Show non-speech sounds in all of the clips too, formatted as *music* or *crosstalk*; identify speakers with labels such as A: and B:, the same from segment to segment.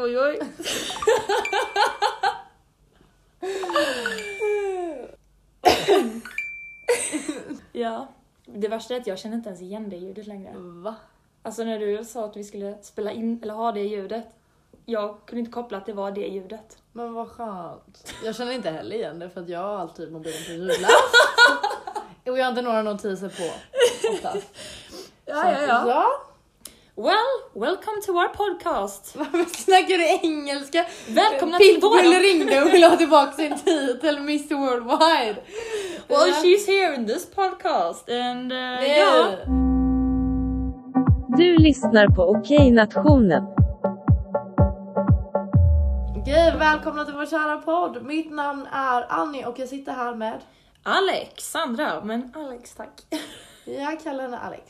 A: Oj oj.
B: Ja. Det värsta är att jag känner inte ens igen det ljudet längre.
A: Va?
B: Alltså när du sa att vi skulle spela in eller ha det ljudet. Jag kunde inte koppla att det var det ljudet.
A: Men vad skönt. Jag känner inte heller igen det för att jag har alltid mobilen
B: *laughs*
A: på ljudlös. Och jag har inte några notiser på. oftast. Så att- ja.
B: Well, welcome to our podcast!
A: Varför *laughs* snackar du engelska?
B: Välkomna till
A: Pitbull
B: våran!
A: ringde och ville ha tillbaka sin titel Miss Worldwide.
B: Well, she's here in this podcast and uh,
A: Nej.
B: ja.
C: Du lyssnar på Okej Nationen.
A: Okej, välkomna till vår kära podd. Mitt namn är Annie och jag sitter här med...
B: Alexandra, men Alex tack.
A: Jag kallar henne Alex.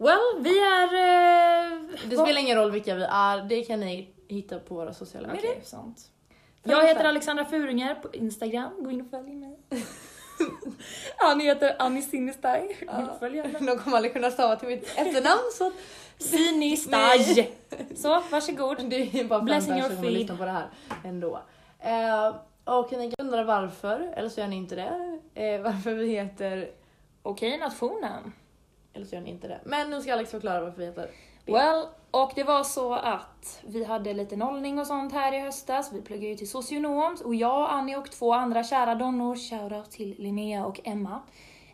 B: Well, vi är... eh,
A: Det
B: vad-
A: spelar ingen roll vilka vi är, det kan ni hitta på våra sociala medier.
B: Okej, sant. Jag heter Alexandra Furinger på Instagram, gå in och följ *laughs* mig. Annie heter Annie Sinistaj, gå in och följ henne.
A: *laughs* De kommer aldrig kunna stava till mitt efternamn så att
B: *laughs* Sinistaj! Så, varsågod.
A: det är bara fem
B: Blessing
A: personer
B: your
A: som
B: feed.
A: lyssnar på det här ändå. Eh, och ni kan undra varför, eller så gör ni inte det. Eh, varför vi heter...
B: Okej, nationen.
A: Eller så gör ni inte det. Men nu ska Alex förklara varför vi heter... *laughs*
B: Well, och det var så att vi hade lite nollning och sånt här i höstas. Vi pluggade ju till socionoms och jag, Annie och två andra kära donnor, shoutout till Linnea och Emma.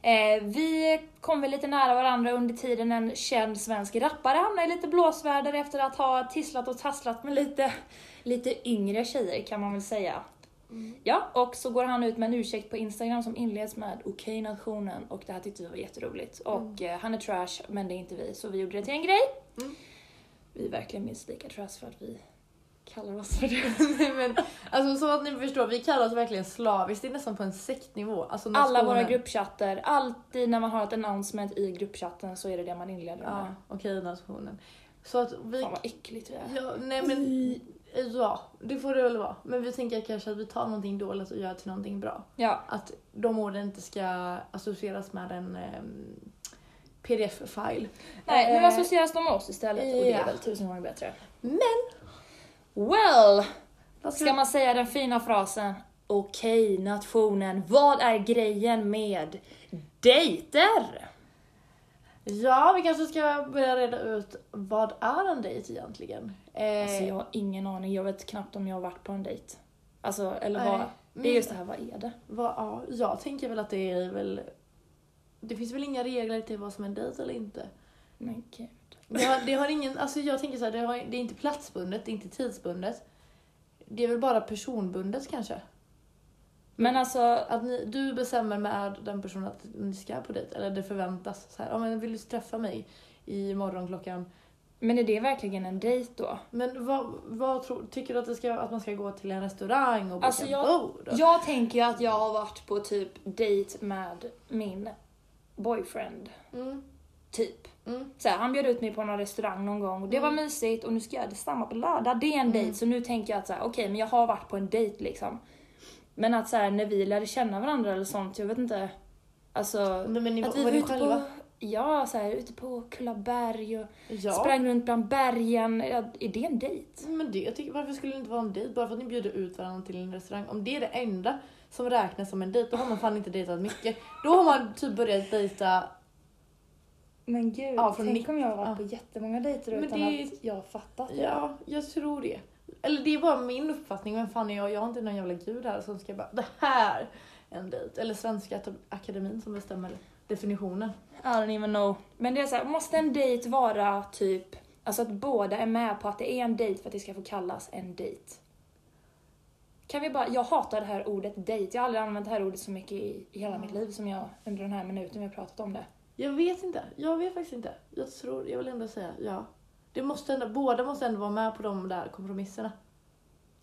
B: Eh, vi kom väl lite nära varandra under tiden en känd svensk rappare hamnade i lite blåsväder efter att ha tisslat och tasslat med lite, lite yngre tjejer kan man väl säga. Ja, och så går han ut med en ursäkt på Instagram som inleds med Okej nationen och det här tyckte vi var jätteroligt. Och eh, han är trash men det är inte vi så vi gjorde det till en grej. Vi är verkligen minst lika trash för att vi kallar oss för
A: *laughs*
B: det.
A: Nej, men, alltså så att ni förstår, vi kallar oss verligen slaviskt. Det är nästan på en sektnivå. Alltså, när
B: Alla våra
A: skolan-
B: gruppchatter, alltid när man har ett announcement i gruppchatten så är det det man inleder
A: Ja,
B: med.
A: okej nationen. Så att vi...
B: Fan vad äckligt vi är.
A: Ja, nej
B: Mm.
A: men... Ja, det får det väl vara. Men vi tänker kanske att vi tar någonting dåligt och gör till någonting bra.
B: Ja,
A: Att de orden inte ska associeras med en ehm, pdf-file.
B: nej nu
A: Eh,
B: associeras de med oss istället och det
A: ja.
B: är väl tusen gånger bättre.
A: Men!
B: Well,
A: Vad ska
B: ska man säga den fina frasen Okej nationen, vad är grejen med dejter?
A: Ja, vi kanske ska börja reda ut vad är en dejt egentligen? Eh,
B: Alltså jag har ingen aning, jag vet knappt om jag har varit på en dejt. Alltså, eller
A: Nej,
B: vad? Det är
A: men-
B: just det här, vad är det?
A: vad, ja, jag tänker väl att det är väl... Det finns väl inga regler till vad som är en dejt eller inte.
B: Men gud.
A: Det har, det har ingen, alltså jag tänker så här, det, har, det är inte platsbundet, det är inte tidsbundet. Det är väl bara personbundet kanske?
B: Men alltså,
A: Att ni, du bestämmer med den personen att ni ska på dejt, eller det förväntas. Så här, "Ja, men vill du träffa mig imorgon klockan?
B: Men är det verkligen en dejt då?
A: Men vad, vad tror, tycker du att, det ska, att man ska gå till en restaurang och boka
B: Alltså, jag-
A: bord?
B: Jag tänker ju att jag har varit på typ dejt med min boyfriend.
A: Mm,
B: Typ.
A: mm.
B: Så här, han bjöd ut mig på någon restaurang någon gång och det var mysigt och nu ska jag göra detsamma på lördag. Det är en
A: Mm.
B: dejt så nu tänker jag att så här, okej men jag har varit på en dejt liksom. Men att så här, när vi lärde känna varandra eller sånt, jag vet inte. Alltså,
A: Nej, men ni
B: att
A: Mm. var, var ni själva?
B: på, ja, så här, ute på Kullaberg och
A: Ja.
B: sprang runt bland bergen. Ja, Är det en dejt?
A: Men det, jag tycker, varför skulle det inte vara en dejt? Bara för att ni bjuder ut varandra till en restaurang. Om det är det enda som räknas som en dejt, då har man fan inte dejtat mycket. Då har man typ börjat dejta
B: Men gud,
A: Ja, från
B: tänk
A: mitt-
B: om jag har varit
A: ja.
B: på jättemånga dejter
A: Men
B: utan
A: det-
B: att jag har fattat det.
A: Ja, jag tror det. Eller det är bara min uppfattning, men fan är jag, jag har inte någon jävla gud här som ska bara det här är en dejt. Eller Svenska Ak- Akademin som bestämmer definitionen.
B: I don't even know. Men det är så här, måste en dejt vara typ, alltså att båda är med på att det är en dejt för att det ska få kallas en dejt? Kan vi bara, jag hatar det här ordet dejt, jag har aldrig använt det här ordet så mycket i, i hela mitt liv som jag under den här minuten vi har pratat om det.
A: Jag vet inte, jag vet faktiskt inte. Jag tror, jag vill ändå säga ja. Det måste ändå, båda måste ändå vara med på de där kompromisserna.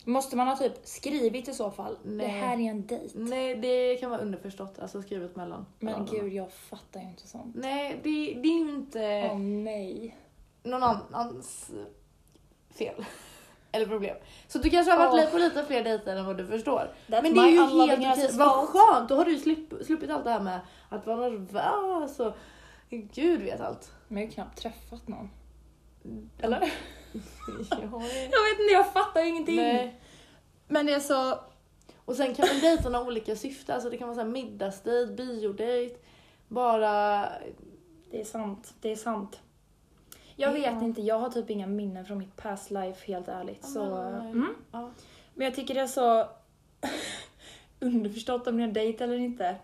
B: Måste man ha typ skrivit i så fall,
A: Nej.
B: det här är en dejt?
A: Nej, det kan vara underförstått, alltså skrivet mellan.
B: Men
A: mellan dem.
B: gud, jag fattar ju inte sånt.
A: Nej, det, det är ju inte
B: Åh nej.
A: någon annans fel. *laughs* Eller problem. Så du kanske har varit
B: Åh.
A: lite på lite fler dejter än vad du förstår.
B: That's
A: men det är
B: my
A: ju
B: unloving
A: helt okej.
B: ass's
A: Vad
B: fault.
A: skönt, då har du ju slupp, sluppit allt det här med att vara nervös och gud vet allt. *laughs*
B: Men jag har ju knappt träffat någon. Eller?
A: Ja.
B: Jag vet inte, jag fattar ingenting.
A: Nej.
B: Men det är så...
A: Och sen kan väl dejterna ha olika syften. Alltså det kan vara så här middagsdejt, biodejt, bara...
B: Det är sant, det är sant. Jag
A: Ja.
B: vet inte, jag har typ inga minnen från mitt past life helt ärligt.
A: Ja,
B: Så,
A: men,
B: mm.
A: Ah, Ja.
B: men jag tycker det är så *laughs* underförstått om ni har dejt eller inte.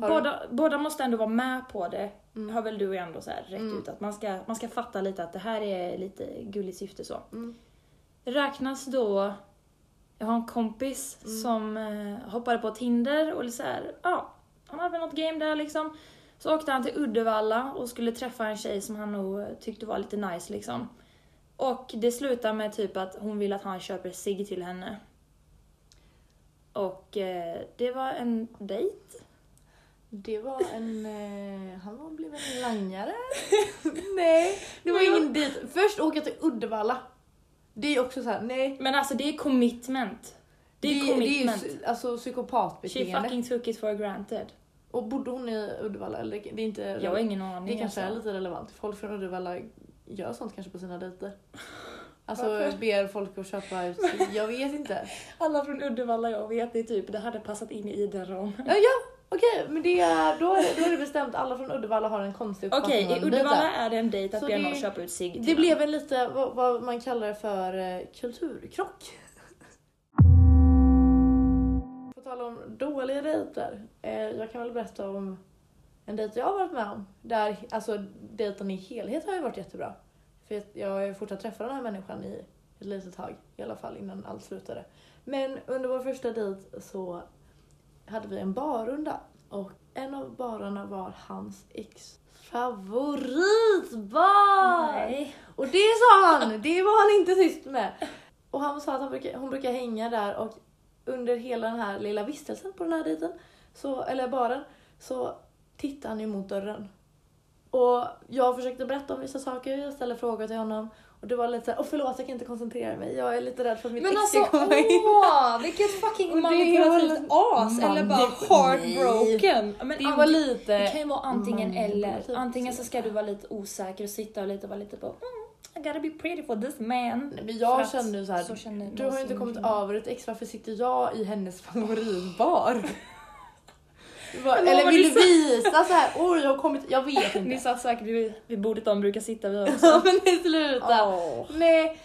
A: Har du-
B: Båda, båda måste ändå vara med på det,
A: Mm.
B: har väl du ändå så här rätt
A: Mm.
B: ut. Att man ska, man ska fatta lite att det här är lite gulligt syfte så.
A: Mm.
B: Räknas då... Jag har en kompis
A: Mm.
B: som eh, hoppade på Tinder och så här, ja, han hade väl något game där liksom. Så åkte han till Uddevalla och skulle träffa en tjej som han nog eh, tyckte var lite nice liksom. Och det slutar med typ att hon vill att han köper sig till henne. Och eh, det var en dejt.
A: Det var en... Eh, han var blev en langare. *laughs* nej, det var ingen dejt. Först åka till Uddevalla. Det är också så här, nej.
B: Men alltså det är commitment. Det är
A: det är ju
B: commitment.
A: psy- alltså
B: She
A: psykopatbeteende.
B: fucking took it for granted.
A: Och bodde hon i Uddevalla? Eller det det är inte...
B: Jag har ingen aning.
A: det kanske är
B: alltså.
A: lite relevant. Folk från Uddevalla gör sånt kanske på sina dejter. Alltså
B: Varför?
A: ber folk att köpa ut. Jag vet inte.
B: Alla från Uddevalla jag vet, det är typ, det hade passat in i den ramen.
A: Ja, ja okej, men det, är- då, är, det- då är det bestämt. Alla från Uddevalla har en konstig
B: Okej,
A: uppfattning om
B: i
A: en
B: Uddevalla
A: dejt.
B: är det en dejt att
A: Så
B: be
A: det-
B: någon köpa ut sig
A: Det blev en lite, vad, vad man kallar det för, eh, kulturkrock. *laughs* På tal om dåliga dejter. Eh, jag kan väl berätta om en dejt jag har varit med om. Där, alltså dejten i helhet har ju varit jättebra. För jag- jag har ju fortsatt träffa den här människan i ett litet tag. I alla fall innan allt slutade. Men under vår första dejt så hade vi en barrunda. Och en av barerna var hans ex favoritbar!
B: Nej.
A: Och det sa han! Det var han inte tyst med. Och han sa att han brukar, hon brukar hänga där och under hela den här lilla vistelsen på den här dejten, så, eller baren, så tittade han ju mot dörren. Och jag försökte berätta om vissa saker, jag ställde frågor till honom och det var lite såhär, åh förlåt jag kan inte koncentrera mig, jag är lite rädd för att mitt
B: Men
A: ex
B: alltså
A: ska komma in.
B: åh! Vilket
A: Och det
B: fucking
A: var-
B: manipulativt as! Eller bara
A: Manip-
B: heartbroken! Men
A: Det
B: anti-
A: var lite...
B: det kan ju vara antingen eller.
A: manipulativt.
B: Antingen så ska du vara lite osäker och sitta och lite vara lite på mm, I gotta be pretty for this man.
A: Nej, men
B: För
A: jag
B: att
A: kände ju så här,
B: så känner
A: du har ju
B: någonsin
A: inte kommit
B: kvinnor.
A: över ett ex, varför sitter jag i
B: *laughs*
A: hennes favoritbar? Det var-
B: Men vad
A: Eller
B: var
A: vill
B: det
A: du visa så här, oj jag har kommit,
B: *laughs*
A: jag vet
B: Ni
A: inte.
B: satt säkert vid, vid bordet de brukar sitta vid också.
A: Ja, men nej, sluta.
B: Åh.
A: Nej,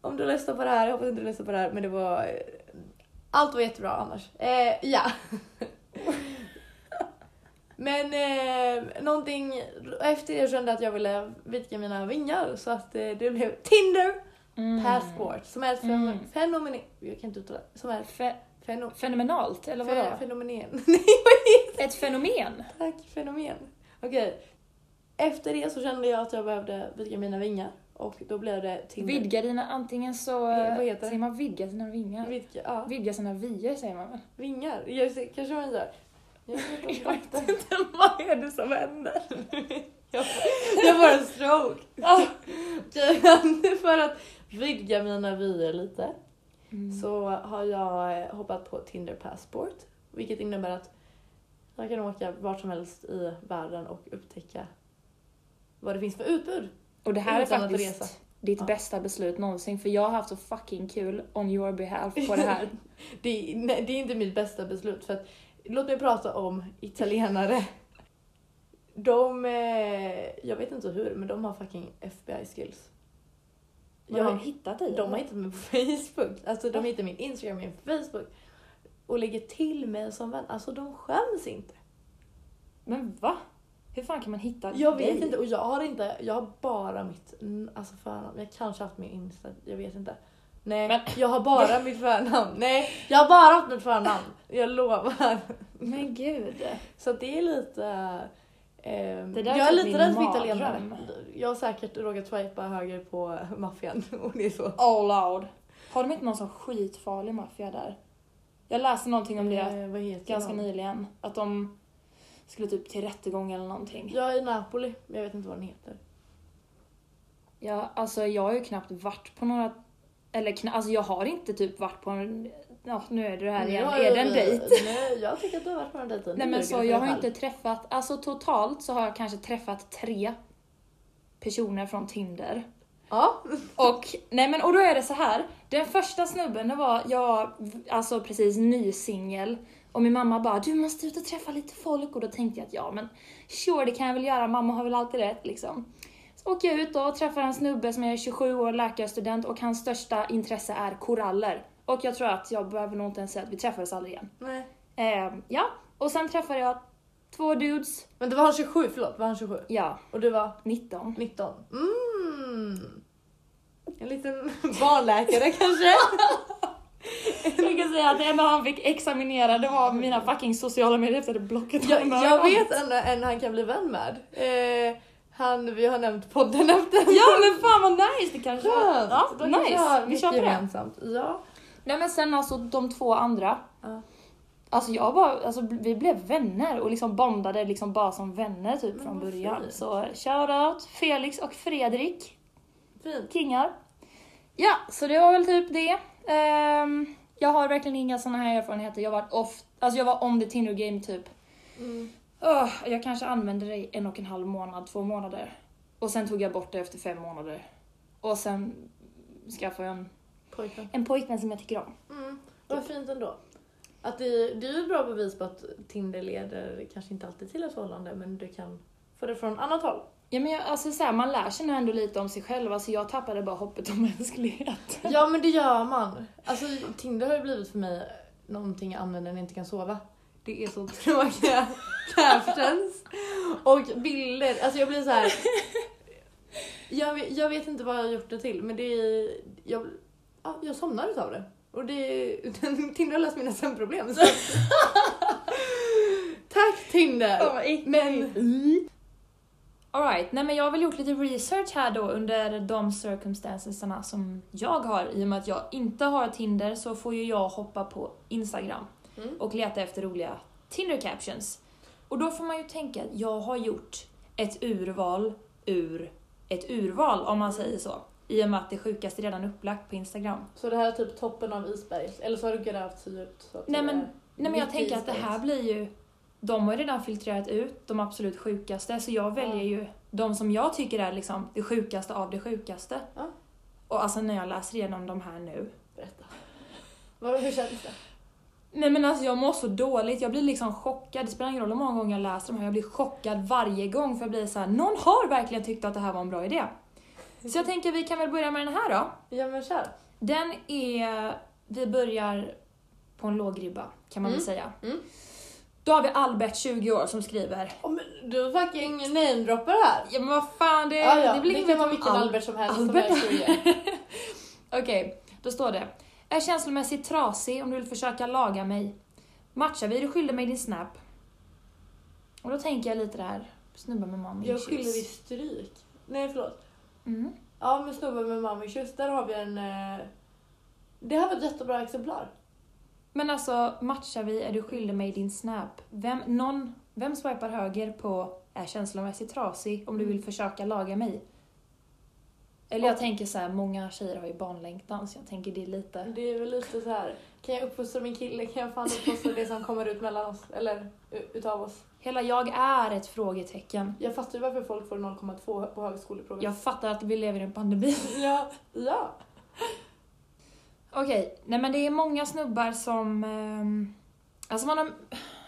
A: om du lyssnar på det här, jag hoppas inte du lyssnar på det här, men det var... eh, Allt var jättebra annars. Eh, ja. *laughs* men eh, någonting, efter det kände jag att jag ville vidga mina vingar så att eh, det blev Tinder
B: Mm.
A: Passport som är ett
B: Mm.
A: fenomen... Jag kan inte uttala Som är ett
B: Fe-
A: feno,
B: fenomenalt, eller vadå?
A: fe, fenomen. *laughs* Nej,
B: Ett fenomen?
A: tack, fenomen. Okej. Efter det så kände jag att jag behövde vidga mina vingar och då blev det Tinder.
B: Vidga dina, antingen så...
A: Eh, vad heter det?
B: Säger man vidga sina vingar?
A: Vidga, ja,
B: Vidga sina vyer säger man väl?
A: vingar. Jag, ser- kanske man gör. Jag vet
B: *laughs*
A: inte. fakta.
B: Vad är det som händer?
A: Jag får- jag får en stroke. Ah, okej, *laughs* För att vidga mina vyer lite
B: Mm.
A: så har jag eh, hoppat på Tinder Passport. Vilket innebär att jag kan åka vart som helst i världen och upptäcka vad det finns för utbud.
B: Och det här är
A: Utan att resa.
B: faktiskt ditt
A: Ja.
B: bästa beslut någonsin för jag har haft så fucking kul on your behalf på det här.
A: Det är, nej, det är inte mitt bästa beslut för att låt mig prata om italienare. De, eh, jag vet inte hur, men de har fucking FBI skills.
B: Jag har
A: Jag,
B: hittat dig? Ah.
A: de har hittat mig på Facebook, alltså de hittar min Instagram, min Facebook och lägger till mig som vän. Alltså de skäms inte.
B: *laughs* Men va? Hur fan kan man hitta
A: Jag vet
B: dig?
A: inte och jag har inte, jag har bara mitt mm, alltså förnamn. Jag kanske haft min Insta, jag vet inte. Nej,
B: Men-
A: jag
B: *laughs*
A: har bara mitt förnamn. Nej, jag har bara haft mitt förnamn. Jag lovar.
B: Men gud.
A: Så att det är lite... ehm,
B: Det där
A: jag är
B: är typ
A: lite
B: min
A: rädd för
B: mardröm.
A: italienare. Jag har säkert råkat swipa höger på maffian *laughs* och det är så.
B: All loud. Oh, Har de inte någon sån skitfarlig maffia där? Jag läste någonting om det
A: Eh, vad heter
B: ganska
A: de?
B: nyligen. Att de skulle typ till rättegång eller någonting.
A: Jag är i Napoli, men jag vet inte vad den heter.
B: Ja, alltså jag har ju knappt varit på några... Eller kna, alltså jag har inte typ varit på en... Ja, nu är det det här
A: Nu
B: igen. Är
A: har
B: det
A: jag-
B: en dejt?
A: Nej, jag tycker att du har varit på den dejten.
B: Nej
A: Nu
B: men
A: ljuger
B: så
A: du
B: jag
A: för
B: har
A: dig
B: ju
A: själv.
B: inte träffat... Alltså totalt så har jag kanske träffat tre personer från Tinder.
A: Ja.
B: Och, nej men, och då är det så här. Den första snubben, det var jag, alltså precis ny singel. Och min mamma bara, du måste ut och träffa lite folk. Och då tänkte jag att ja men sure det kan jag väl göra, mamma har väl alltid rätt liksom. Så åker jag ut då och träffar en snubbe som är 27 år, läkarstudent och hans största intresse är koraller. Och jag tror att jag behöver nog inte ens säga att vi träffades aldrig igen.
A: Nej.
B: Ehm, ja, och sen träffade jag två dudes,
A: Men det var han 27, förlåt. Var han 27?
B: ja,
A: Och du var
B: 19.
A: 19? Mm. En liten *laughs* barnläkare kanske?
B: *laughs* Jag kan säga att det enda han fick examinera det var mina fucking sociala medier efter det blocket
A: Jag,
B: honom.
A: jag vet en, en han kan bli vän med. Eh, han, vi har nämnt podden efter.
B: Ja men fan vad nice det kanske var.
A: Skönt!
B: Ja,
A: Då kanske jag har
B: nice, vi
A: mycket
B: kör på det.
A: gemensamt. Ja.
B: *laughs* Nej men sen alltså de två andra.
A: Ja.
B: Alltså jag bara, alltså vi blev vänner och liksom bondade liksom bara som vänner typ
A: Men
B: från
A: vad
B: början.
A: fint.
B: Så shoutout Felix och Fredrik.
A: Fint.
B: kingar. Ja, så det var väl typ det. Ehm, jag har verkligen inga såna här erfarenheter. Jag var off, alltså jag var on the Tinder game typ.
A: Mm.
B: Öh, jag kanske använde det i en och en halv månad, två månader. Och sen tog jag bort det efter fem månader. Och sen skaffade jag en,
A: Pojkvän.
B: en pojkvän som jag tycker om.
A: Mm. Vad fint ändå. Att det, det är ju ett bra bevis på att Tinder leder kanske inte alltid till ett förhållande men du kan få det från annat håll.
B: Ja men jag, alltså så här, man lär sig nog ändå lite om sig själv. Alltså jag tappade bara hoppet om mänsklighet.
A: Ja men det gör man. Alltså Tinder har ju blivit för mig någonting jag använder när jag inte kan sova. Det är så tråkiga
B: *laughs*
A: captions och bilder. Alltså jag blir så här. Jag, vet- jag vet inte vad jag har gjort det till men det är... Jag, ja, jag somnar utav det. Och det är... *laughs* Tinder har löst mina sömnproblem. Så.
B: *laughs*
A: Tack Tinder!
B: Oh
A: men...
B: Alright, nej men jag har väl gjort lite research här då under de circumstancesarna som jag har. I och med att jag inte har Tinder så får ju jag hoppa på Instagram
A: Mm.
B: och leta efter roliga Tinder captions. Och då får man ju tänka att jag har gjort ett urval ur ett urval om man säger så. I och med att det sjukaste är redan upplagt på Instagram.
A: Så det här är typ toppen av isberget? Eller så har du grävt så djupt så att
B: Nej,
A: det
B: men-
A: är-
B: Nej men jag
A: Mitt
B: tänker att det
A: isberg.
B: här blir ju... De har ju redan filtrerat ut de absolut sjukaste, så jag väljer
A: Ja.
B: ju de som jag tycker är liksom det sjukaste av det sjukaste.
A: Ja.
B: Och alltså när jag läser igenom de här nu.
A: Berätta. Vad, hur känns det?
B: Nej men alltså jag mår så dåligt, jag blir liksom chockad. Det spelar ingen roll hur många gånger jag läser de här, jag blir chockad varje gång för jag blir så här: någon har verkligen tyckt att det här var en bra idé. Så jag tänker vi kan väl börja med den här då.
A: Ja men kör.
B: Den är... Vi börjar på en låg ribba, kan man väl
A: Mm.
B: säga.
A: Mm.
B: Då har vi Albert, 20 år, som skriver
A: Oh, men du fucking namedroppar här.
B: Ja men vad fan, det,
A: Ja, ja.
B: det
A: Eh, Det,
B: blir inget
A: kan vara
B: om
A: vilken
B: allt.
A: Albert som helst
B: Albert.
A: som är 20.
B: Okej, då står det. Är känslomässigt trasig om du vill försöka laga mig. Matchar vi, du skyller mig din snap. Och då tänker jag lite det här, snubben med mommy
A: *laughs* Jag
B: issues.
A: skyller dig stryk. Nej förlåt.
B: Mm.
A: Ja men snubben med mommy issues, där har vi en... eh, Det här var ett jättebra exemplar.
B: Men alltså, matchar vi, är du skyldig mig din snap. Vem, någon, vem swipar höger på är känslomässigt trasig om du vill försöka laga mig? Eller jag tänker så här, många tjejer har ju barnlängtan så jag tänker det är lite...
A: Det är väl lite så här. kan jag uppfostra min kille? Kan jag fan uppfostra det som kommer ut mellan oss? Eller u- utav oss?
B: Hela jag är ett frågetecken.
A: Jag fattar ju varför folk får 0,2 på högskoleprovet.
B: Jag fattar att vi lever i en pandemi.
A: ja. ja.
B: Okej, nej men det är många snubbar som... ehm, alltså man har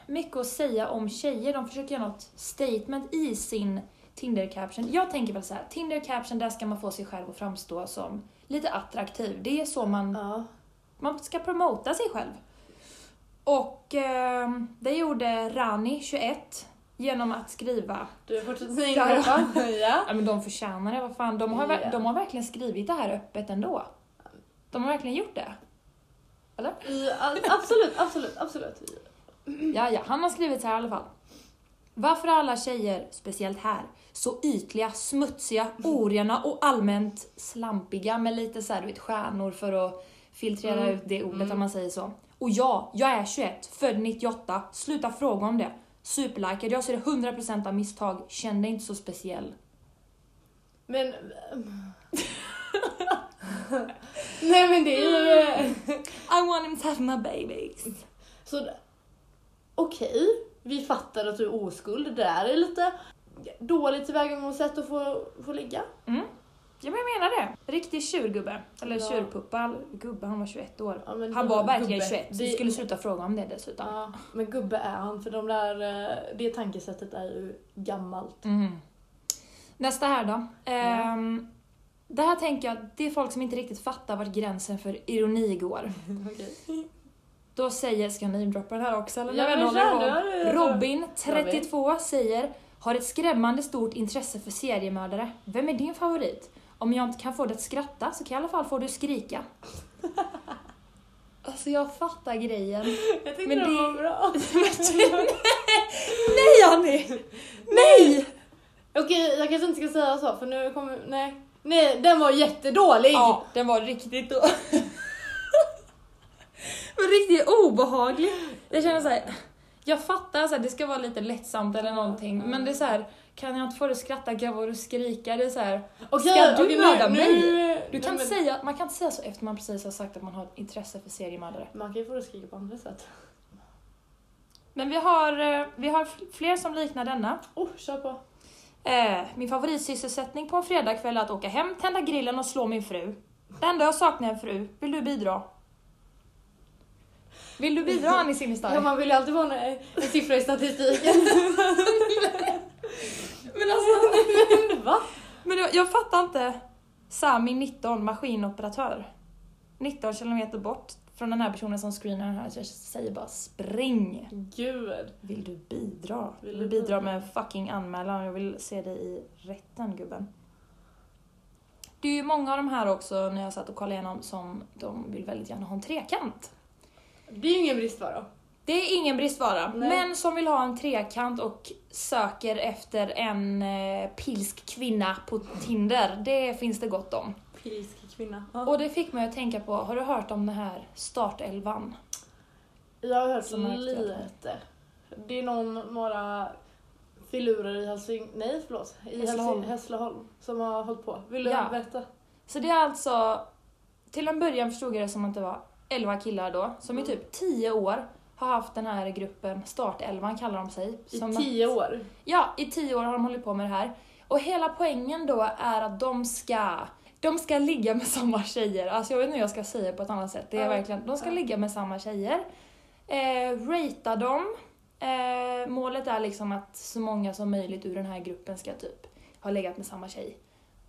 B: mycket att säga om tjejer. De försöker göra något statement i sin Tinder-caption. Jag tänker väl så här, Tinder-caption, där ska man få sig själv att framstå som lite attraktiv. Det är så man,
A: ja.
B: man ska promota sig själv. Och ehm, det gjorde Rani, 21, genom att skriva
A: Du fortsätter med
B: Ska jag?
A: namedroppa. *laughs* Ja.
B: Ja men de förtjänar det, vad fan. De har, ver-
A: Ja.
B: de har verkligen skrivit det här öppet ändå. De har verkligen gjort det.
A: Ja, Absolut, absolut, absolut.
B: Ja, ja, han har skrivit så här i alla fall. Varför är alla tjejer, speciellt här, så ytliga, smutsiga,
A: Mm.
B: orena och allmänt slampiga med lite så här, du vet, stjärnor för att filtrera
A: Mm.
B: ut det ordet
A: Mm.
B: om man säger så. Och ja, jag är 21, född 98, sluta fråga om det. Superlikad, jag ser 100% av misstag, känn dig inte så speciell.
A: Men... *laughs* Nej men det
B: Mm.
A: är ju...
B: *laughs* I want him to have my babies.
A: Så... Okej, vi fattar att du är oskuld. Det där är lite dåligt tillvägagångssätt att få, få ligga.
B: Mm. Ja men jag menar det. Riktig tjurgubbe. Eller
A: Ja.
B: tjurpuppa. Gubbe, han var 21 år.
A: Ja, men
B: Han
A: det
B: var verkligen
A: gubbe.
B: 21, så vi
A: Det-
B: skulle sluta fråga om det dessutom.
A: Ja, men gubbe är han för de där, eh, det tankesättet är ju gammalt.
B: Mm. Nästa här då. Ehm, Det här tänker jag, det är folk som inte riktigt fattar vart gränsen för ironi går.
A: Okej.
B: Då säger, ska jag namedroppa den här också eller?
A: Ja,
B: Nej,
A: men
B: håller
A: kör,
B: på.
A: nu har du-
B: Robin, 32, säger Har ett skrämmande stort intresse för seriemördare. Vem är din favorit? Om jag inte kan få dig att skratta så kan jag i alla fall få dig att skrika. *laughs* alltså jag fattar
A: *laughs*
B: grejen.
A: Jag tyckte
B: Men
A: det
B: det-
A: var bra. *laughs*
B: *laughs* Nej Annie! Nej!
A: Okej, jag kanske inte ska säga så för nu kommer, nej. Nej, den var jättedålig!
B: Ja, den var riktigt *laughs* då. var riktigt obehaglig. Jag känner så här. jag fattar att det ska vara lite lättsamt eller någonting, men det är så här. kan jag inte få dig att skratta grabbar och skrika? Det är så här.
A: Okej,
B: Ska du
A: okej, nu-
B: mörda
A: nu-
B: mig? Du kan
A: nej, men-
B: inte säga, man kan inte säga så efter man precis har sagt att man har ett intresse för seriemördare.
A: Man kan ju få det skrika på andra sätt.
B: Men vi har, eh, vi har fl- fler som liknar denna.
A: Oh, kör på.
B: Eh, min favoritsysselsättning på en fredagkväll är att åka hem, tända grillen och slå min fru. Det enda jag saknar är en fru. Vill du bidra? Vill du bidra Annie *laughs* Silfverstein?
A: Ja, man vill ju alltid vara en, en siffra i *laughs* statistiken.
B: Men alltså,
A: *laughs* Va?
B: men jag, jag fattar inte. Sami 19, maskinoperatör. 19 kilometer bort från den här personen som screenar den här. Så jag säger bara spring.
A: Gud.
B: Vill du bidra?
A: Vill
B: Vill
A: du
B: du bidra
A: bidra?
B: med en fucking anmälan? Jag vill se dig i rätten gubben. Det är ju många av de här också, när jag satt och kollade igenom, som de vill väldigt gärna ha en trekant.
A: Det är ju ingen bristvara.
B: Det är ingen bristvara,
A: Nej.
B: men som vill ha en trekant och söker efter en eh, pilsk kvinna på Tinder, det finns det gott om.
A: Pilsk kvinna. Ja.
B: Och det fick mig att tänka på, har du hört om den här startelvan?
A: Jag har hört
B: Som är aktuell.
A: lite. Det är någon, några filurer i Helsing... Nej, förlåt. I
B: Hässleholm.
A: Hässleholm. Hässleholm som har hållit på. Vill du
B: Ja.
A: berätta?
B: Så det är alltså, till en början förstod jag det som att det var 11 killar då, som i typ 10 år har haft den här gruppen, startelvan kallar de sig.
A: I
B: som-
A: tio år.
B: Ja, i 10 år har de hållit på med det här. Och hela poängen då är att de ska de ska ligga med samma tjejer. Alltså jag vet inte hur jag ska säga det på ett annat sätt. Det är
A: Ja.
B: verkligen, de ska
A: Ja.
B: ligga med samma tjejer. Eh, ratea dem. Eh, målet är liksom att så många som möjligt ur den här gruppen ska typ ha legat med samma tjej.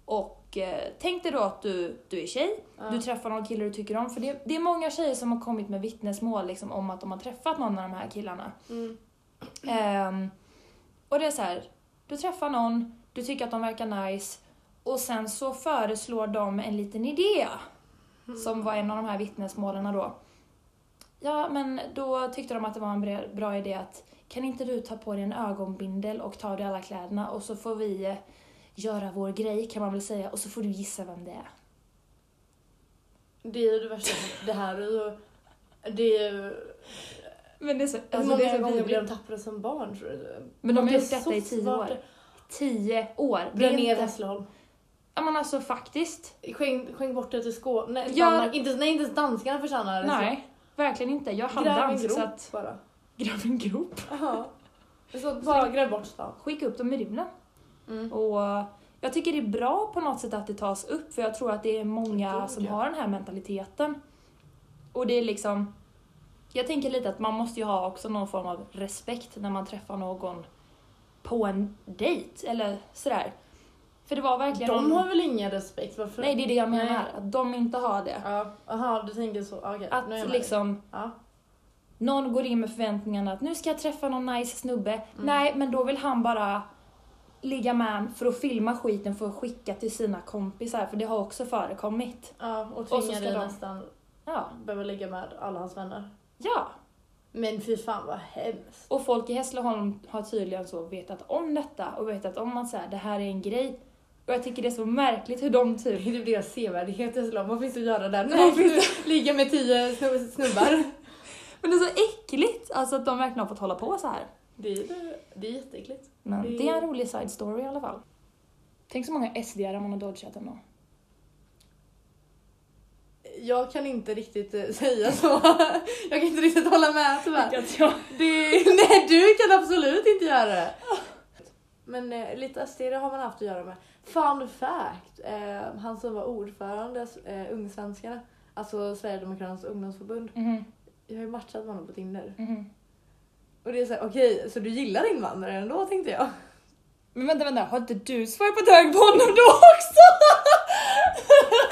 B: Och eh, tänk dig då att du, du är tjej,
A: Ja.
B: du träffar någon kille du tycker om. För det, det är många tjejer som har kommit med vittnesmål liksom, om att de har träffat någon av de här killarna.
A: Mm.
B: Ehm, och det är så här, du träffar någon, du tycker att de verkar nice och sen så föreslår de en liten idé. Som var en av de här vittnesmålen då. Ja, men då tyckte de att det var en bre- bra idé att kan inte du ta på dig en ögonbindel och ta av dig alla kläderna och så får vi eh, göra vår grej kan man väl säga och så får du gissa vem det är.
A: Det är ju det värsta. Det här är ju... Det är ju...
B: Men det är så,
A: Hur
B: alltså, det
A: många
B: är så
A: gånger blev
B: vidrigt.
A: de tappade som barn tror du?
B: Men de har
A: Det är
B: gjort detta
A: så
B: i tio
A: svårt.
B: år. Tio år! Det
A: Bränn
B: är
A: ner
B: inte...
A: Hässleholm.
B: Ja men alltså faktiskt.
A: Skänk, skänk bort det till Skåne. Nej,
B: Ja.
A: Danmark. Inte, nej, inte ens danskarna förtjänar det.
B: Nej, Alltså, verkligen inte. Jag
A: Så.
B: hann
A: Gräv en
B: dansk
A: grop
B: så att...
A: bara.
B: Gräv en grop.
A: Ja. Så bara gräv bort stan.
B: Skicka upp dem i rymden.
A: Mm.
B: Och eh, jag tycker det är bra på något sätt att det tas upp för jag tror att det är många
A: Gud,
B: som
A: ja.
B: har den här mentaliteten. Och det är liksom... Jag tänker lite att man måste ju ha också någon form av respekt när man träffar någon på en dejt eller sådär. För det var verkligen...
A: De
B: någon-
A: har väl ingen respekt? Varför?
B: Nej, det är det jag menar.
A: Nej.
B: Att de inte har det.
A: Ja, aha, du tänker så. Okej,
B: Att
A: nu är jag med.
B: liksom...
A: Ja.
B: Någon går in med förväntningarna att nu ska jag träffa någon nice snubbe. Nej, men då vill han bara ligga med en för att filma skiten för att skicka till sina kompisar, för det har också förekommit.
A: ja, och
B: så
A: tvingar
B: ska
A: dig
B: de-
A: nästan
B: Ja.
A: behöva ligga med alla hans vänner.
B: Ja.
A: Men fy fan vad hemskt.
B: Och folk i Hässleholm har tydligen så vetat om detta och vetat om att så här, det här är en grej. Och jag tycker det är så märkligt hur de
A: Det
B: typ...
A: är typ deras sevärdhet i Vad finns det att göra där?
B: Nej,
A: Vad finns det? Ligga med tio snu- snubbar.
B: Men det är så äckligt! Alltså att de verkligen har fått hålla på så här.
A: *laughs* Det är, det är jätteäckligt.
B: Men
A: Det-
B: det är en rolig side story i alla fall. Tänk så många SD-are man har dodgat ändå.
A: Jag kan inte riktigt eh, *laughs* säga så. Jag kan inte riktigt hålla med tyvärr. *laughs*
B: Att jag
A: Det, nej, du kan absolut inte göra det. Men eh, lite Asteria har man haft att göra med. Fun fact! Eh, han som var ordförande, eh, Ungsvenskarna, alltså Sverigedemokraternas ungdomsförbund.
B: Mhm,
A: Jag har ju matchat med honom på Tinder.
B: mhm.
A: Och det är såhär, okej, så du gillar invandrare ändå tänkte jag. *laughs*
B: Men vänta, vänta, har inte du swipat höger på honom då också? *laughs*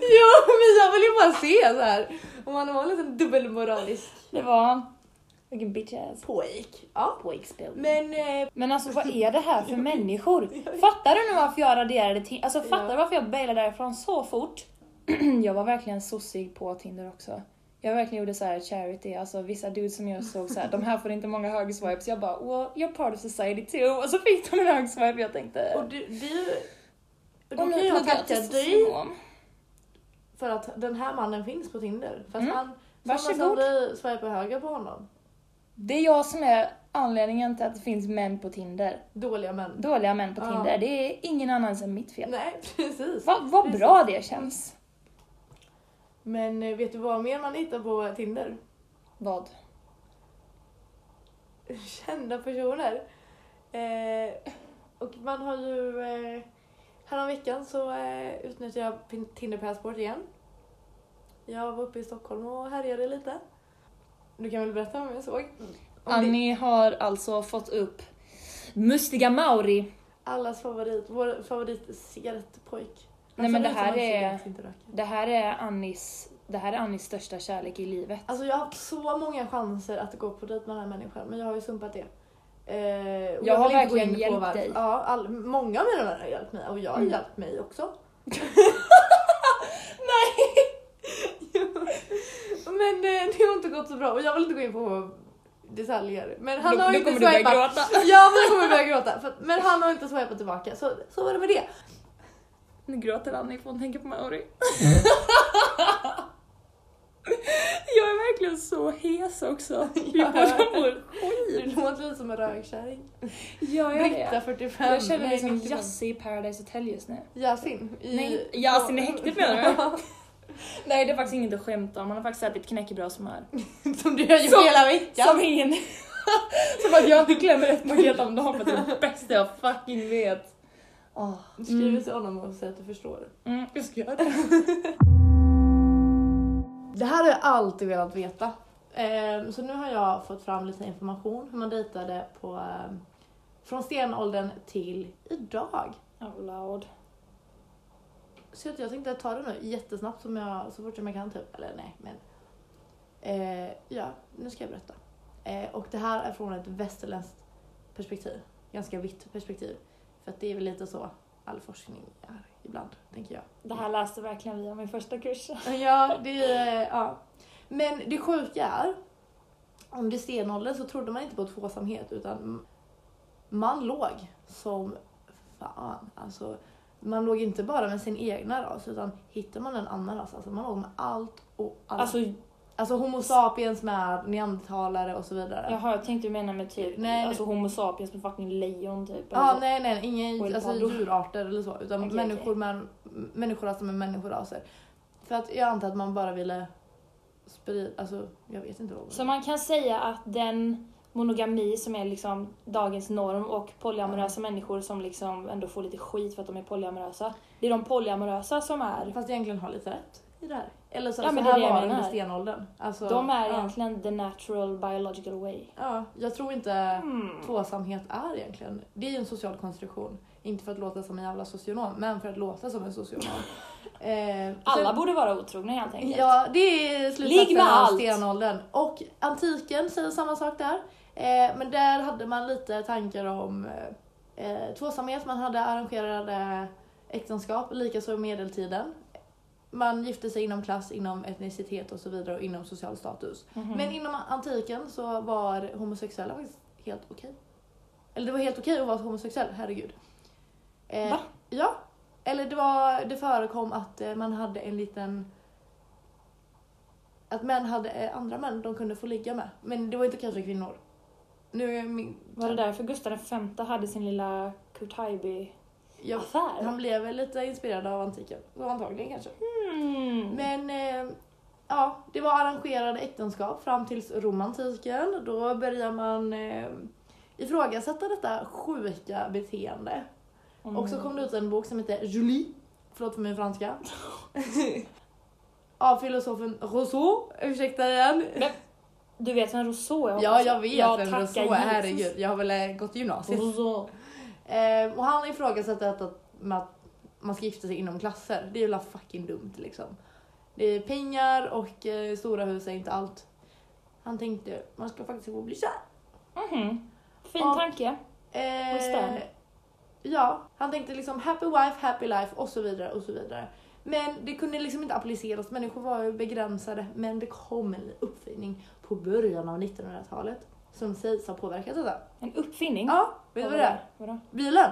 A: jo, men jag vill ju bara se så här. Om han var en liten dubbelmoralisk
B: Det var han. Vilken bitch ass.
A: pojk. Ja. Men eh,
B: Men alltså vad är det *laughs* här för människor? Fattar du nu varför jag raderade Tinder? Alltså fattar du
A: Ja.
B: varför jag bailade därifrån så fort? *clears throat* jag var verkligen sossig på Tinder också. Jag verkligen gjorde så här charity, alltså vissa dudes som jag såg så här, de här får inte många högerswipes. Jag bara, well, you're part of society too. Och så fick de en högerswipe jag tänkte,
A: och du, du och då
B: och
A: kan jag
B: pluggar
A: tacka
B: till
A: dig
B: socionom.
A: för att den här mannen finns på Tinder. För att
B: Mm.
A: han,
B: Varsågod.
A: Varsågod. Som vi swipar höger på honom.
B: Det är jag som är anledningen till att det finns män på Tinder.
A: Dåliga män.
B: Dåliga män på
A: Ja.
B: Tinder, det är ingen annans än mitt fel.
A: Nej, *laughs* precis.
B: Va, vad
A: Precis.
B: bra det känns.
A: Men eh, vet du vad mer man hittar på Tinder? *laughs*
B: Vad?
A: kända personer. Eh, och man har ju... Eh, häromveckan så eh, utnyttjade jag Pin- Tinder Passport igen. Jag var uppe i Stockholm och härjade lite. Du kan väl berätta vad jag såg? Om det,
B: Annie har alltså fått upp Mustiga Mauri.
A: allas favorit, vår favorit cigarettpojk. Han
B: Nej, men
A: ser
B: det
A: ut som
B: här
A: en
B: är-
A: cigarett som inte röker.
B: Det här är Annis, det här är Annis största kärlek i livet.
A: Alltså jag har haft så många chanser att gå på dejt med den här människan men jag har ju sumpat det. Eh, och
B: Jag har
A: vill inte gå
B: verkligen
A: in på
B: hjälpt
A: varför.
B: dig.
A: Ja, all, många av mina vänner har hjälpt mig och jag har
B: Mm.
A: hjälpt mig också. Men eh, det har inte gått så bra och jag vill inte gå in på detaljer. Men han
B: Nu-
A: har
B: nu
A: inte
B: kommer du börja
A: swipat.
B: gråta.
A: Ja, men jag kommer börja gråta. För, men han har inte swipat tillbaka så, så var det med det.
B: Nu gråter Annie för hon tänker på Mauri. Mm. *laughs* Jag är verkligen så hes *laughs* också. Vi
A: Ja.
B: båda mår
A: Du
B: skit.
A: låter lite som en rökkärring.
B: Ja, jag
A: Britta
B: är
A: 45.
B: Jag känner mig
A: nej,
B: som
A: 95.
B: Jasse i Paradise Hotel just nu.
A: Yasin. I,
B: Nej, Yasin i häktet menar Nej, det är faktiskt inget att skämta om. Man har faktiskt ätit knäckebröd som är.
A: du? *laughs* som du har gjort
B: Som-
A: hela veckan.
B: Som ingen... *laughs* som att jag inte glömmer ett paket om dagen för att det är det bästa jag fucking vet. Oh.
A: Skriv till honom och säg att du förstår.
B: Mm, jag ska göra det.
A: Det här har jag alltid velat veta. Ehm, Så nu har jag fått fram lite information hur man dejtade på, ehm, från stenåldern till idag.
B: Oh, loud.
A: Så att jag tänkte ta det nu jättesnabbt som jag, så fort som jag kan typ. Eller nej, men. Eh, ja, nu ska jag berätta. Eh, och det här är från ett västerländskt perspektiv. Ganska vitt perspektiv. För att det är väl lite så all forskning är ibland, tänker jag.
B: Det här läste verkligen vi om i första kursen.
A: Ja, det är, ja. Men det sjuka är, om det är stenåldern så trodde man inte på tvåsamhet utan man låg som fan. Alltså, man låg inte bara med sin egna ras utan hittar man en annan ras, alltså man låg med allt och alla. Alltså,
B: Alltså,
A: homo sapiens med neandertalare och så vidare. Ja,
B: jaha, jag tänkte du menar med typ
A: Nej,
B: alltså, homo sapiens med fucking lejon typ. eller
A: ah,
B: så.
A: nej, nej,
B: Och
A: ingen alltså,
B: elpandor.
A: djurarter eller så utan
B: Okej,
A: människor med människoraser med människoraser. För att jag antar att man bara ville sprida, alltså jag vet inte vad.
B: Så man kan säga att den monogami som är liksom dagens norm och polyamorösa människor som liksom ändå får lite skit för att de är polyamorösa. Det är de polyamorösa som är,
A: Fast egentligen har lite rätt i det här. Eller så,
B: Ja,
A: så
B: men det är
A: här
B: det jag
A: var det under
B: menar.
A: stenåldern. Alltså,
B: de är
A: ja,
B: egentligen the natural biological way.
A: ja, jag tror inte
B: Hmm.
A: tvåsamhet är egentligen. Det är ju en social konstruktion. Inte för att låta som en jävla socionom, men för att låta som
B: *laughs*
A: en socionom. eh,
B: Alla
A: sen-
B: borde vara otrogna helt enkelt.
A: Ja, det är
B: Ligg
A: slutsatsen
B: med
A: av
B: allt.
A: stenåldern. Och antiken säger samma sak där. Eh, men där hade man lite tankar om eh, eh, tvåsamhet, man hade arrangerade äktenskap, likaså i medeltiden. Man gifte sig inom klass, inom etnicitet och så vidare och inom social status.
B: Mhm.
A: Men inom antiken så var homosexuella faktiskt helt okej. Eller det var helt okej att vara homosexuell, herregud. Eh,
B: Va?
A: Ja. Eller det, var, det förekom att eh, man hade en liten... Att män hade eh, andra män de kunde få ligga med. Men det var inte kanske kvinnor. Nu är min...
B: Var det därför Gustav V hade sin lilla Kurt Haijby-affär?
A: Jag, han blev väl lite inspirerad av antiken. Så antagligen kanske.
B: Mm.
A: Men eh, ja, det var arrangerade äktenskap fram tills romantiken. Då börjar man eh, ifrågasätta detta sjuka beteende.
B: Om-
A: Och så kom det ut en bok som heter Julie, förlåt för min *laughs* franska, av filosofen Rousseau, ursäkta igen.
B: Du vet vem Rousseau är?
A: Ja,
B: hoppas
A: jag vet
B: Ja,
A: vem
B: tacka
A: Rousseau är,
B: Jesus.
A: herregud. Jag har väl eh, gått i gymnasiet.
B: Rousseau.
A: Eh, och han ifrågasätter att, att, med att man ska gifta sig inom klasser. Det är ju la fucking dumt liksom. Det är pengar och eh, stora hus är inte allt. Han tänkte, man ska faktiskt gå och bli kär.
B: Mhm. Fin
A: Ja.
B: tanke. Och stämmer.
A: Eh, ja, han tänkte liksom happy wife, happy life och så vidare och så vidare. Men det kunde liksom inte appliceras, människor var ju begränsade. Men det kom en uppfinning på början av 1900-talet som sägs ha påverkat detta.
B: En uppfinning.
A: Ja, vet du vad det är?
B: Vadå?
A: Bilen!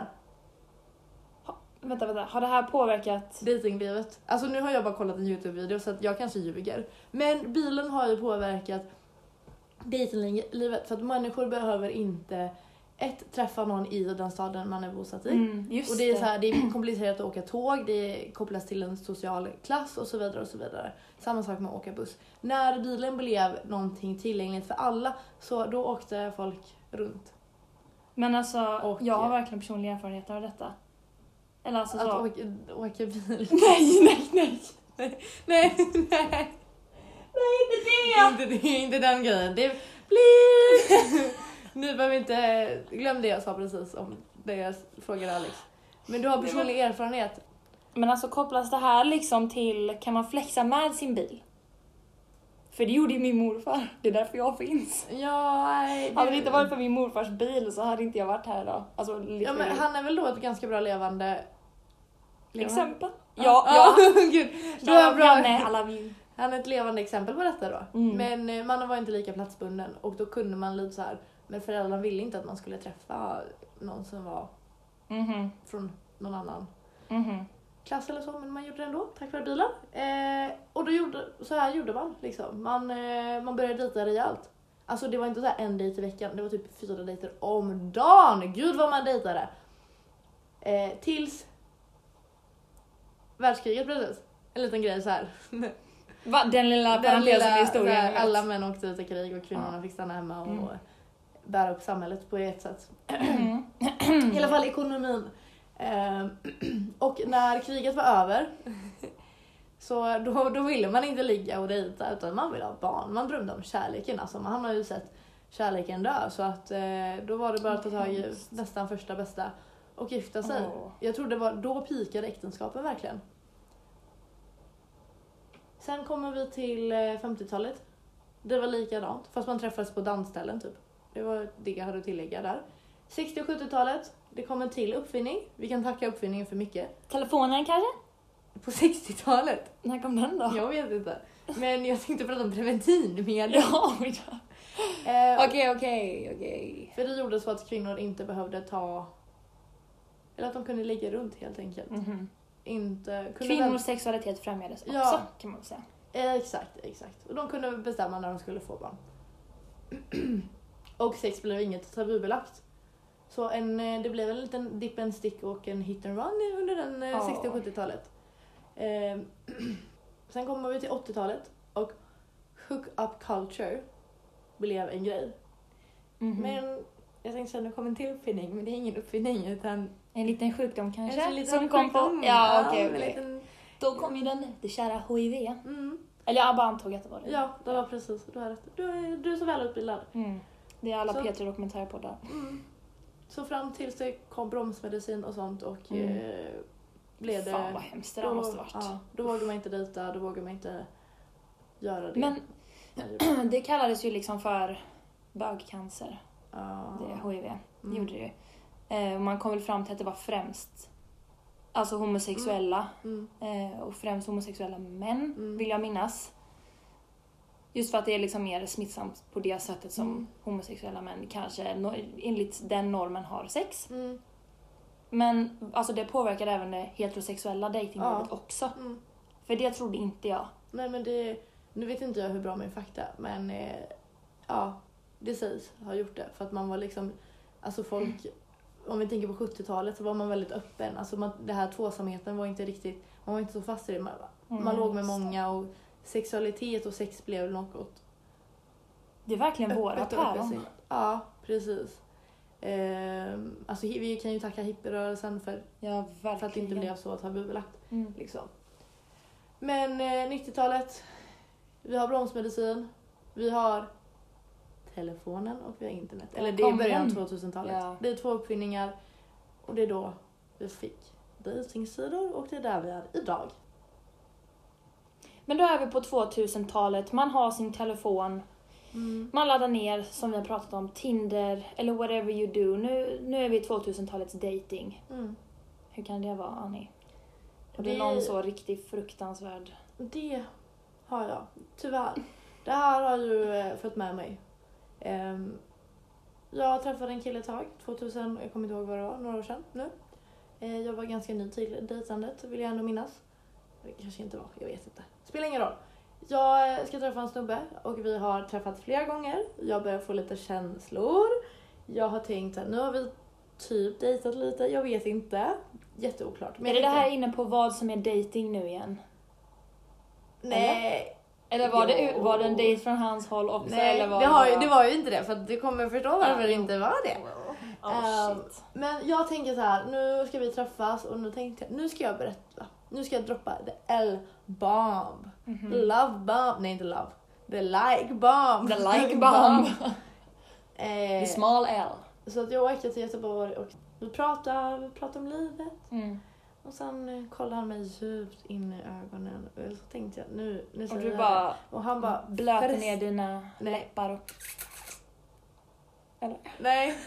B: Vänta, vänta. Har det här påverkat?
A: Datinglivet. Alltså nu har jag bara kollat en Youtube-video så att jag kanske ljuger. Men bilen har ju påverkat datinglivet för att människor behöver inte ett, träffa någon i den staden man är bosatt i.
B: Mm, just
A: Och det är, så här, det är komplicerat att åka tåg, det kopplas till en social klass och så vidare. och så vidare. Samma sak med att åka buss. När bilen blev någonting tillgängligt för alla så då åkte folk runt.
B: Men alltså,
A: Och-
B: jag har verkligen personlig erfarenhet av detta. Eller alltså
A: Att
B: så.
A: åka, åka *laughs* bil.
B: Nej, nej, nej.
A: Nej, nej. Nej, inte det! Inte, inte den grejen. Det blir... *laughs* nu behöver vi inte... Glöm det jag sa precis om det jag frågade Alex. Men du har personlig erfarenhet.
B: Men alltså kopplas det här liksom till, kan man flexa med sin bil? För det gjorde ju min morfar. Det är därför jag finns.
A: Ja, nej,
B: Hade det inte varit för min morfars bil så hade inte jag varit här idag. Alltså,
A: Ja, men
B: literally.
A: han är väl då ett ganska bra levande...
B: Exempel. Ja, ja.
A: *laughs* Gud. Du
B: ja.
A: är bra.
B: Janne, I love you.
A: Han är ett levande exempel på detta då.
B: Mm.
A: Men eh, man var inte lika platsbunden och då kunde man lite så här. Men föräldrarna ville inte att man skulle träffa någon som var
B: Mhm,
A: från någon annan
B: mhm.
A: klass eller så, men man gjorde det ändå tack vare bilen. Eh, och då gjorde, så här gjorde man liksom. Man, eh, man började dejta rejält. Alltså det var inte så här en dejt i veckan, det var typ fyra dejter om dagen. Gud vad man dejtade! Eh, tills världskriget bröt ut. En liten grej så här.
B: Va, den lilla
A: Den
B: parentesen i
A: så
B: historien.
A: här,
B: jag vet. *clears throat* Mm.
A: alla män åkte ut i krig och kvinnorna fick stanna hemma och bära upp samhället på ett sätt.
B: Mm.
A: I alla fall ekonomin. Ehm, *clears throat* och när kriget var
B: *laughs*
A: över så då, då ville man inte ligga och dejta utan man ville ha barn. Man drömde om kärleken. Alltså, man har ju sett kärleken dö så att eh, då var det bara att ta tag i nästan första bästa och gifta sig.
B: Åh.
A: Jag tror det var då pikade äktenskapen verkligen. Sen kommer vi till eh, 50-talet. Det var likadant, fast man träffades på dansställen typ. Det var det jag hade att tillägga där. 60 och 70-talet, det kom en till uppfinning. Vi kan tacka uppfinningen för mycket.
B: Telefonen kanske?
A: På 60-talet?
B: När kom den då?
A: Jag vet inte. Men jag tänkte prata om preventivmedel.
B: *laughs* Ja, oj då.
A: Eh,
B: Okej, okej, okej.
A: För det gjorde så att kvinnor inte behövde ta... Eller att de kunde ligga runt helt enkelt.
B: Mhm.
A: Inte, kunde
B: Kvinnors sexualitet främjades också
A: Ja.
B: kan man väl säga.
A: Eh, Exakt, exakt. Och de kunde bestämma när de skulle få barn. *clears throat* och sex blev inget tabubelagt. Så en, eh, det blev en liten dip and stick och en hit and run under den eh,
B: Ja.
A: 60 och 70-talet. Eh, *clears throat* sen kommer vi till 80-talet och hook-up culture blev en grej.
B: Mhm.
A: Men jag tänkte säga nu kommer en till uppfinning, men det är ingen uppfinning utan
B: En liten sjukdom kanske?
A: en liten
B: som kom på...
A: sjukdom.
B: Ja, okej.
A: en
B: okej.
A: liten-
B: Då kom ju den, det kära HIV.
A: mm,
B: Eller jag bara antog att det var det.
A: ja, det var precis. Du har rätt. Du är, du är så välutbildad.
B: Mm. Det är alla
A: Så-
B: P3 Dokumentärpoddar.
A: Mm. Så fram tills det kom bromsmedicin och sånt och
B: Mm.
A: eh, blev det...
B: Fan vad hemskt det där
A: då-
B: måste varit.
A: Ja, då vågade man inte dejta, då vågade man inte göra det.
B: Men *clears throat* det kallades ju liksom för bögcancer,
A: ja,
B: det HIV. Det
A: Mm.
B: gjorde det ju. Eh, och man kom väl fram till att det var främst alltså homosexuella
A: mm,
B: eh, och främst homosexuella män
A: Mm.
B: vill jag minnas. Just för att det är liksom mer smittsamt på det sättet som
A: Mm.
B: homosexuella män kanske no, enligt den normen har sex.
A: mm,
B: Men alltså det påverkar även det heterosexuella dejtinglivet också.
A: mm.
B: För det trodde inte jag.
A: Nej men det... Nu vet inte jag hur bra min fakta är, men eh, ja, det sägs ha gjort det. För att man var liksom... Alltså folk... Om vi tänker på 70-talet så var man väldigt öppen. Alltså man, det här tvåsamheten var inte riktigt... Man var inte så fast i det. Man, man
B: Mm,
A: låg med
B: just det.
A: många och sexualitet och sex blev något
B: Det är verkligen våra
A: Öppet och öppet
B: päron.
A: sig. Ja, precis. Eh, alltså hi- vi kan ju tacka hippierörelsen för,
B: Ja, verkligen.
A: för att det inte blev så tabubelagt.
B: Mm.
A: Liksom. Men eh, 90-talet, vi har bromsmedicin, vi har telefonen och vi har internet. Eller det är i
B: Kom
A: början av
B: igen.
A: 2000-talet.
B: Ja.
A: Det är två uppfinningar och det är då vi fick dejtingsidor och det är där vi är idag.
B: Men då är vi på 2000-talet, man har sin telefon, man laddar ner, som vi har pratat om, Tinder eller whatever you do. Nu, nu är vi i 2000-talets dating.
A: Mm.
B: Hur kan det vara, Annie? Har
A: Det-
B: du någon så riktigt fruktansvärd...
A: Det har jag, tyvärr. Det här har ju eh, fått med mig. Ehm, jag träffade en kille ett tag, 2000, jag kommer inte ihåg vad det var, några år sedan nu. Eh, jag var ganska ny till dejtandet, vill jag ändå minnas. Det kanske inte var, jag vet inte. Spelar ingen roll. Jag eh, ska träffa en snubbe och vi har träffats flera gånger. Jag börjar få lite känslor. Jag har tänkt att nu har vi typ dejtat lite, jag vet inte. Jätteoklart.
B: är
A: jag
B: det det
A: tänkte-
B: här inne på vad som är dating nu igen?
A: Nej,
B: Eller var, det,
A: Jo.
B: var det en dejt från hans håll också?
A: Nej,
B: eller var
A: det, har, ju- det var ju inte det för att du kommer förstå varför
B: Ja,
A: det
B: jo.
A: inte var det.
B: Oh,
A: Ehm,
B: shit.
A: Men jag tänker så här, nu ska vi träffas och nu tänkte jag, nu ska jag berätta. Nu ska jag droppa the L-bomb.
B: mhm.
A: Love bomb, nej inte love. The like bomb.
B: Mm. *laughs* The
A: *laughs*
B: like bomb.
A: Eh,
B: The small L.
A: så att jag åkte till Göteborg och vi pratade, vi pratade om livet.
B: Mm.
A: Och sen eh, kollade han mig djupt in i ögonen och så tänkte jag nu, nu
B: Och
A: säger
B: du
A: jag
B: bara
A: det. Och han bara
B: blöter
A: "Förresten."
B: ner dina
A: Nej.
B: läppar och... Eller?
A: Nej.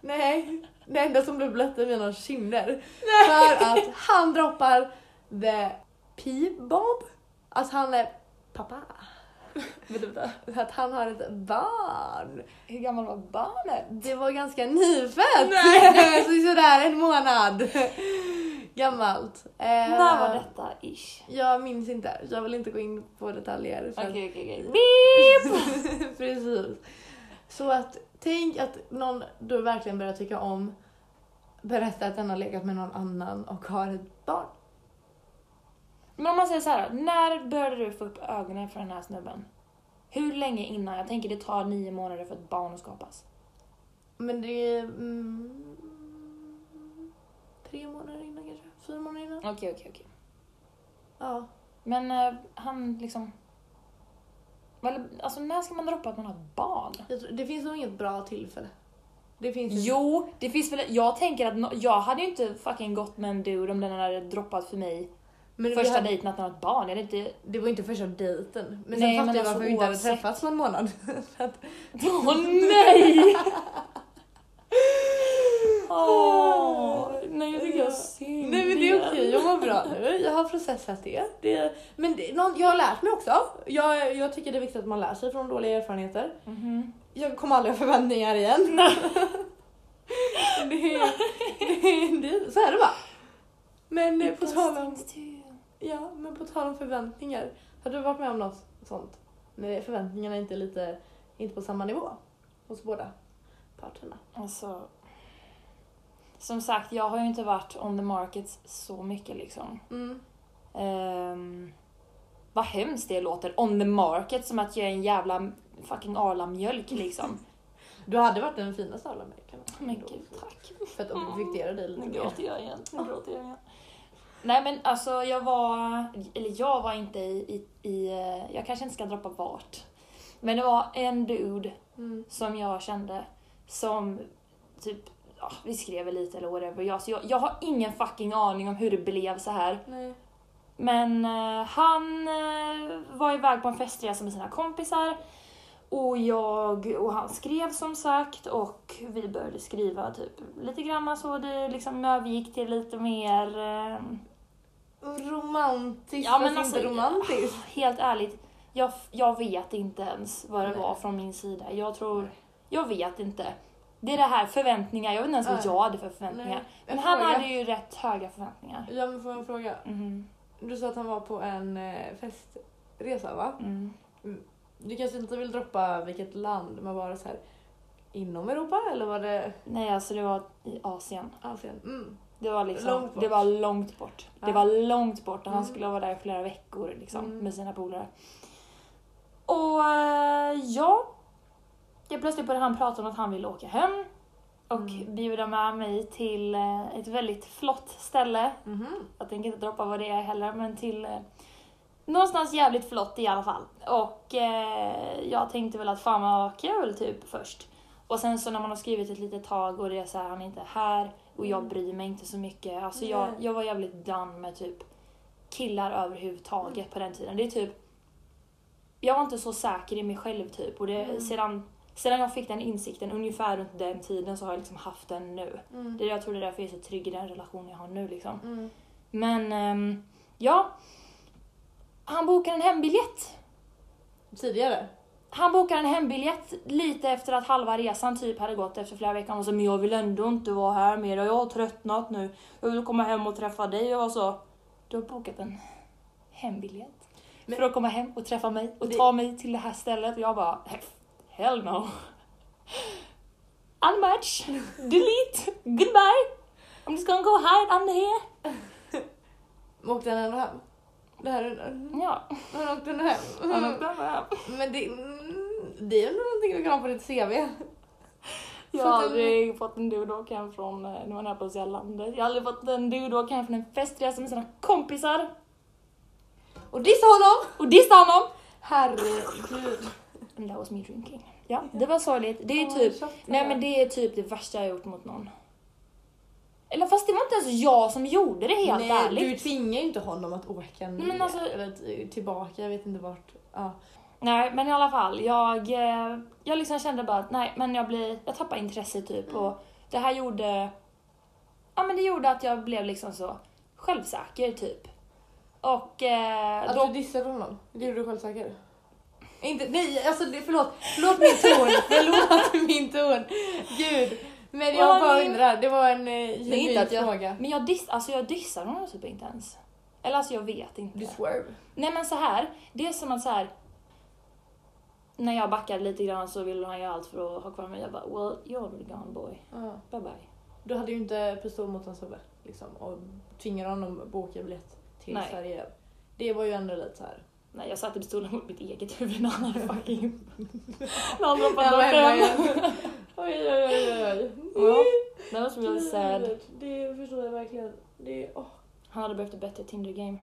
A: Nej. Det enda som blev blött är mina kinder. För att han droppar the p-bomb. Att han är pappa. Att han har ett barn.
B: Hur gammal var barnet?
A: Det var ganska nyfött. *laughs* Nej. Så sådär en månad gammalt. Eh,
B: När var detta ish?
A: Jag minns inte. Jag vill inte gå in på detaljer. För att
B: okej, okej.
A: Precis. *laughs* Så att tänk att någon du verkligen börjar tycka om berättar att den har legat med någon annan och har ett barn.
B: Men om man säger så här, när började du få upp ögonen för den här snubben? Hur länge innan? Jag tänker det tar nio månader för ett barn att skapas.
A: Men det är mm, tre månader innan kanske, fyra månader innan.
B: Okej, okej, okej.
A: Ja.
B: Men eh, han liksom... Väl, Alltså när ska man droppa att man har ett barn?
A: Jag tror, det finns nog inget bra tillfälle. Det finns inte.
B: Jo, det finns väl... Jag tänker att no, jag hade ju inte fucking gått med en dude om den hade droppat för mig
A: men vi
B: första
A: hade-
B: dejten att man har ett barn. Jag hade inte...
A: Det var inte första dejten. Men
B: Nej,
A: sen fattade
B: men
A: jag
B: alltså,
A: varför vi inte hade
B: oavsett.
A: träffats på en månad. Så att-
B: *laughs* Åh *laughs* nej! Åh, nej, jag tycker jag synd.
A: Nej men det är okej, jag mår bra nu. Jag har processat det. det men det, någon, jag har lärt mig också. Jag, jag tycker det är viktigt att man lär sig från dåliga erfarenheter.
B: Mhm.
A: Jag kommer aldrig ha förväntningar igen. *laughs* det, är- det, är- så är det bara. Men eh, på tal, om, ja, men på tal om förväntningar. Har du varit med om något sånt? När förväntningarna inte är lite, inte på samma nivå hos båda parterna.
B: Alltså, som sagt, jag har ju inte varit on the market så mycket liksom.
A: Mm.
B: Ehm, vad hemskt det låter, on the market, som att jag är en jävla fucking Arla-mjölk liksom.
A: Du hade varit den finaste av alla mig. kan man-
B: *laughs* Men gud, tack.
A: För att objektifiera dig lite
B: Nu
A: mer.
B: gråter jag igen. Nu gråter jag igen. Nej men alltså jag var, eller jag var inte i, i, i, eh, jag kanske inte ska droppa vart. Men det var en dude
A: Mm.
B: som jag kände som typ, ja, vi skrev väl lite eller whatever. Jag, så jag, jag har ingen fucking aning om hur det blev så här.
A: Nej.
B: Men eh, han eh, var iväg på en festresa med sina kompisar och jag och han skrev som sagt och vi började skriva typ lite grann så det liksom övergick till lite mer eh,
A: Romantiskt
B: Ja, men
A: fast
B: alltså- *laughs*
A: inte romantiskt.
B: helt ärligt jag, jag vet inte ens vad det
A: Nej.
B: var från min sida. Jag tror jag vet inte. Det är det här förväntningar. Jag vet inte ens vad
A: Nej.
B: jag hade för förväntningar.
A: Nej.
B: Men
A: En
B: han
A: fråga.
B: hade ju rätt höga förväntningar.
A: Ja men får jag fråga?
B: Mm,
A: Du sa att han var på en eh, festresa va?
B: mm.
A: Du kanske inte vill droppa vilket land, men var det så här inom Europa eller var det
B: Nej, alltså det var i Asien.
A: Asien? Mm.
B: Det var, liksom,
A: Långt bort.
B: det var långt bort.
A: Ja.
B: Det var långt bort och han
A: Mm.
B: skulle vara där i flera veckor liksom,
A: Mm.
B: med sina polare. Och eh, ja, jag plötsligt började han prata om att han ville åka hem. och
A: Mm.
B: bjuda med mig till eh, ett väldigt flott ställe.
A: Mhm.
B: Jag tänker inte droppa vad det är heller, men till eh, någonstans jävligt flott i alla fall. Och eh, jag tänkte väl att fan vad kul typ först. Och sen så när man har skrivit ett litet tag och det är så här, han är inte här och jag bryr mig inte så mycket. Alltså jag,
A: Mm. Nej.
B: jag var jävligt done med typ killar överhuvudtaget
A: Mm.
B: på den tiden. Det är typ jag var inte så säker i mig själv typ och det,
A: Mm.
B: sedan, sedan jag fick den insikten ungefär runt den tiden så har jag liksom haft den nu.
A: Mm.
B: Det, jag tror det är därför jag är så trygg i den relation jag har nu liksom.
A: Mm.
B: Men ehm, ja, han bokar en hembiljett.
A: Tidigare?
B: Han bokar en hembiljett lite efter att halva resan typ hade gått efter flera veckor. Han var så, men jag vill ändå inte vara här mer. Jag har tröttnat nu. Jag vill komma hem och träffa dig. Jag var så, du har bokat en hembiljett.
A: Men-
B: för att komma hem och träffa mig och
A: Det-
B: ta mig till det här stället. Och jag bara, hell no. Unmatch, delete, goodbye. I'm just gonna go hide under here.
A: Åkte han ändå hem? Det här är...
B: Ja,
A: Han
B: *laughs*
A: åkte ändå hem.
B: han åkte hem.
A: *laughs* Men det, mm, det är ju någonting vi kan ha på ditt CV.
B: Jag
A: Fått
B: har
A: en-
B: aldrig fått en dude att åka hem från, eh, nu var jag nära på att säga landet, jag har aldrig fått en dude att åka hem från en festresa med sina kompisar
A: Och dissa honom!
B: och dissa honom!
A: Herregud.
B: And that was me drinking. Ja, det var sorgligt. Det är typ, nej men det är typ det värsta jag har gjort mot någon. Eller fast det var inte ens jag som gjorde det helt
A: Nej,
B: ärligt.
A: du tvingar ju inte honom att åka ner.
B: Nej, men alltså-
A: Eller t- tillbaka, jag vet inte vart. Ja.
B: Nej men i alla fall, jag, eh, jag liksom kände bara att nej men jag blir, jag tappar intresse typ
A: Mm.
B: och det här gjorde, ja men det gjorde att jag blev liksom så självsäker typ. Och eh,
A: Att
B: då
A: du dissade honom, det gjorde du självsäker. Inte, nej, alltså det, förlåt. Förlåt min ton.
B: *laughs*
A: förlåt min ton. Gud. Men jag
B: Åh,
A: bara
B: nej.
A: undrar, det var en eh,
B: Det är
A: genuin
B: inte att jag,
A: fråga.
B: Men jag, diss, alltså jag dissar honom typ inte ens. Eller alltså jag vet inte.
A: Du swerve.
B: Nej men så här, det är som att så här. När jag backade lite grann så ville han göra allt för att ha kvar mig. Jag bara, well you're already gone boy.
A: Ja.
B: Bye bye.
A: Du hade ju inte pistol mot hans huvud liksom, och tvingade honom att boka biljett till
B: Nej.
A: Sverige. Det var ju ändå lite såhär.
B: Nej jag satte pistolen mot mitt eget huvud när han hade *laughs* fucking... när han droppade
A: Jag var hemma
B: bort
A: igen. *laughs* Oj, oj, oj, oj,
B: Ja,
A: oj.
B: That was really sad.
A: Det förstår jag verkligen. Det, åh.
B: Han hade behövt ett bättre Tinder game.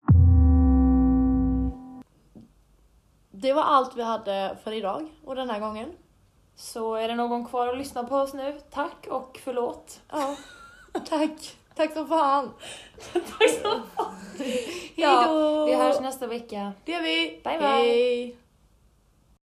A: det var allt vi hade för idag och den här gången.
B: Så är det någon kvar att lyssna på oss nu, tack och förlåt.
A: *laughs* Ja. Tack. Tack så fan.
B: Tack så mycket.
A: Hej då.
B: Vi hörs nästa vecka.
A: Det gör vi.
B: Bye, bye.
A: Hej.